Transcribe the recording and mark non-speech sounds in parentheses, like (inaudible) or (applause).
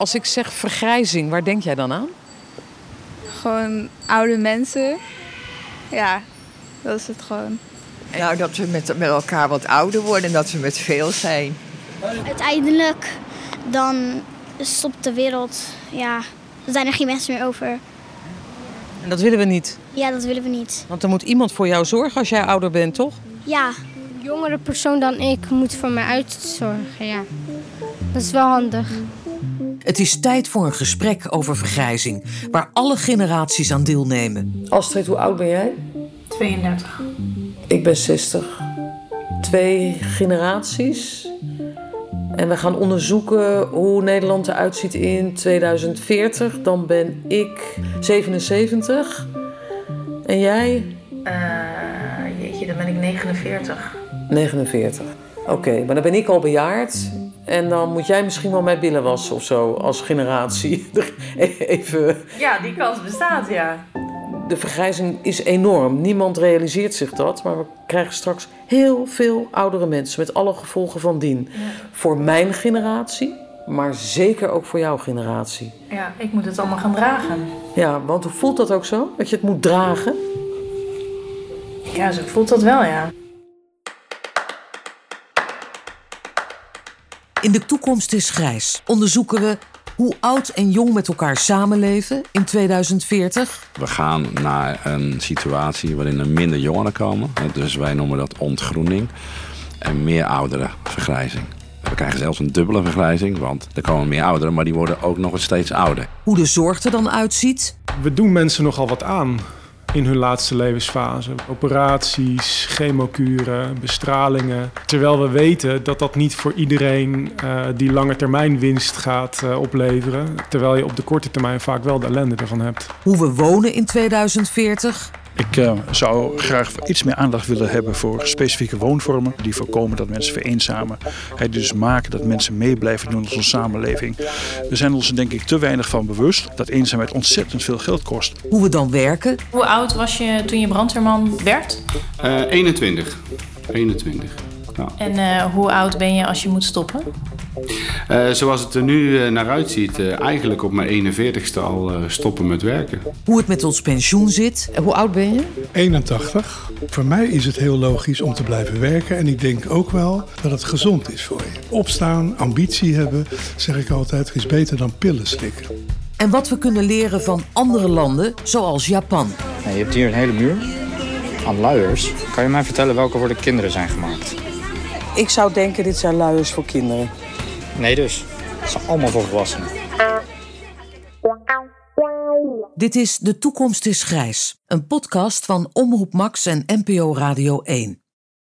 Als ik zeg vergrijzing, waar denk jij dan aan? Gewoon oude mensen. Ja, dat is het gewoon. Nou, dat we met, met elkaar wat ouder worden en dat we met veel zijn. Uiteindelijk dan stopt de wereld. Ja, er zijn er geen mensen meer over. En dat willen we niet. Ja, dat willen we niet. Want er moet iemand voor jou zorgen als jij ouder bent, toch? Ja, Een jongere persoon dan ik moet voor mij uitzorgen, ja. Dat is wel handig. Het is tijd voor een gesprek over vergrijzing, waar alle generaties aan deelnemen. Astrid, hoe oud ben jij? 32. Ik ben 60. Twee generaties. En we gaan onderzoeken hoe Nederland eruit ziet in 2040. Dan ben ik 77. En jij? Eh, jeetje, dan ben ik 49. 49. Oké, maar dan ben ik al bejaard. En dan moet jij misschien wel mijn billen wassen of zo, als generatie. (laughs) Even Ja, die kans bestaat, ja. De vergrijzing is enorm. Niemand realiseert zich dat. Maar we krijgen straks heel veel oudere mensen met alle gevolgen van dien. Voor mijn generatie, maar zeker ook voor jouw generatie. Ja, ik moet het allemaal gaan dragen. Ja, want hoe voelt dat ook zo? Dat je het moet dragen? Ja, zo voelt dat wel, ja. In de toekomst is grijs. Onderzoeken we hoe oud en jong met elkaar samenleven in 2040. We gaan naar een situatie waarin er minder jongeren komen. Dus wij noemen dat ontgroening. En meer ouderen vergrijzing. We krijgen zelfs een dubbele vergrijzing, want er komen meer ouderen, maar die worden ook nog steeds ouder. Hoe de zorg er dan uitziet. We doen mensen nogal wat aan in hun laatste levensfase. Operaties, chemokuren, bestralingen. Terwijl we weten dat dat niet voor iedereen eh, die lange termijn winst gaat eh, opleveren. Terwijl je op de korte termijn vaak wel de ellende ervan hebt. Hoe we wonen in 2040. Ik eh, zou graag iets meer aandacht willen hebben voor specifieke woonvormen die voorkomen dat mensen vereenzamen. Hè, die dus maken dat mensen mee blijven doen in onze samenleving. We zijn ons er denk ik te weinig van bewust dat eenzaamheid ontzettend veel geld kost. Hoe we dan werken. Hoe oud was je toen je brandweerman werd? Eh, 21. 21. En eh, hoe oud ben je als je moet stoppen? Eh, zoals het er nu naar uitziet, eh, eigenlijk op mijn 41ste al eh, stoppen met werken. Hoe het met ons pensioen zit. Hoe oud ben je? 81. Voor mij is het heel logisch om te blijven werken. En ik denk ook wel dat het gezond is voor je. Opstaan, ambitie hebben, Eh, zeg ik altijd, is beter dan pillen slikken. En wat we kunnen leren van andere landen, zoals Japan. Nou, je hebt hier een hele muur aan luiers. Kan je mij vertellen welke voor de kinderen zijn gemaakt? Ik zou denken, dit zijn luiers voor kinderen. Nee dus, ze zijn allemaal voor volwassenen. Dit is De Toekomst is Grijs, een podcast van Omroep Max en NPO Radio 1.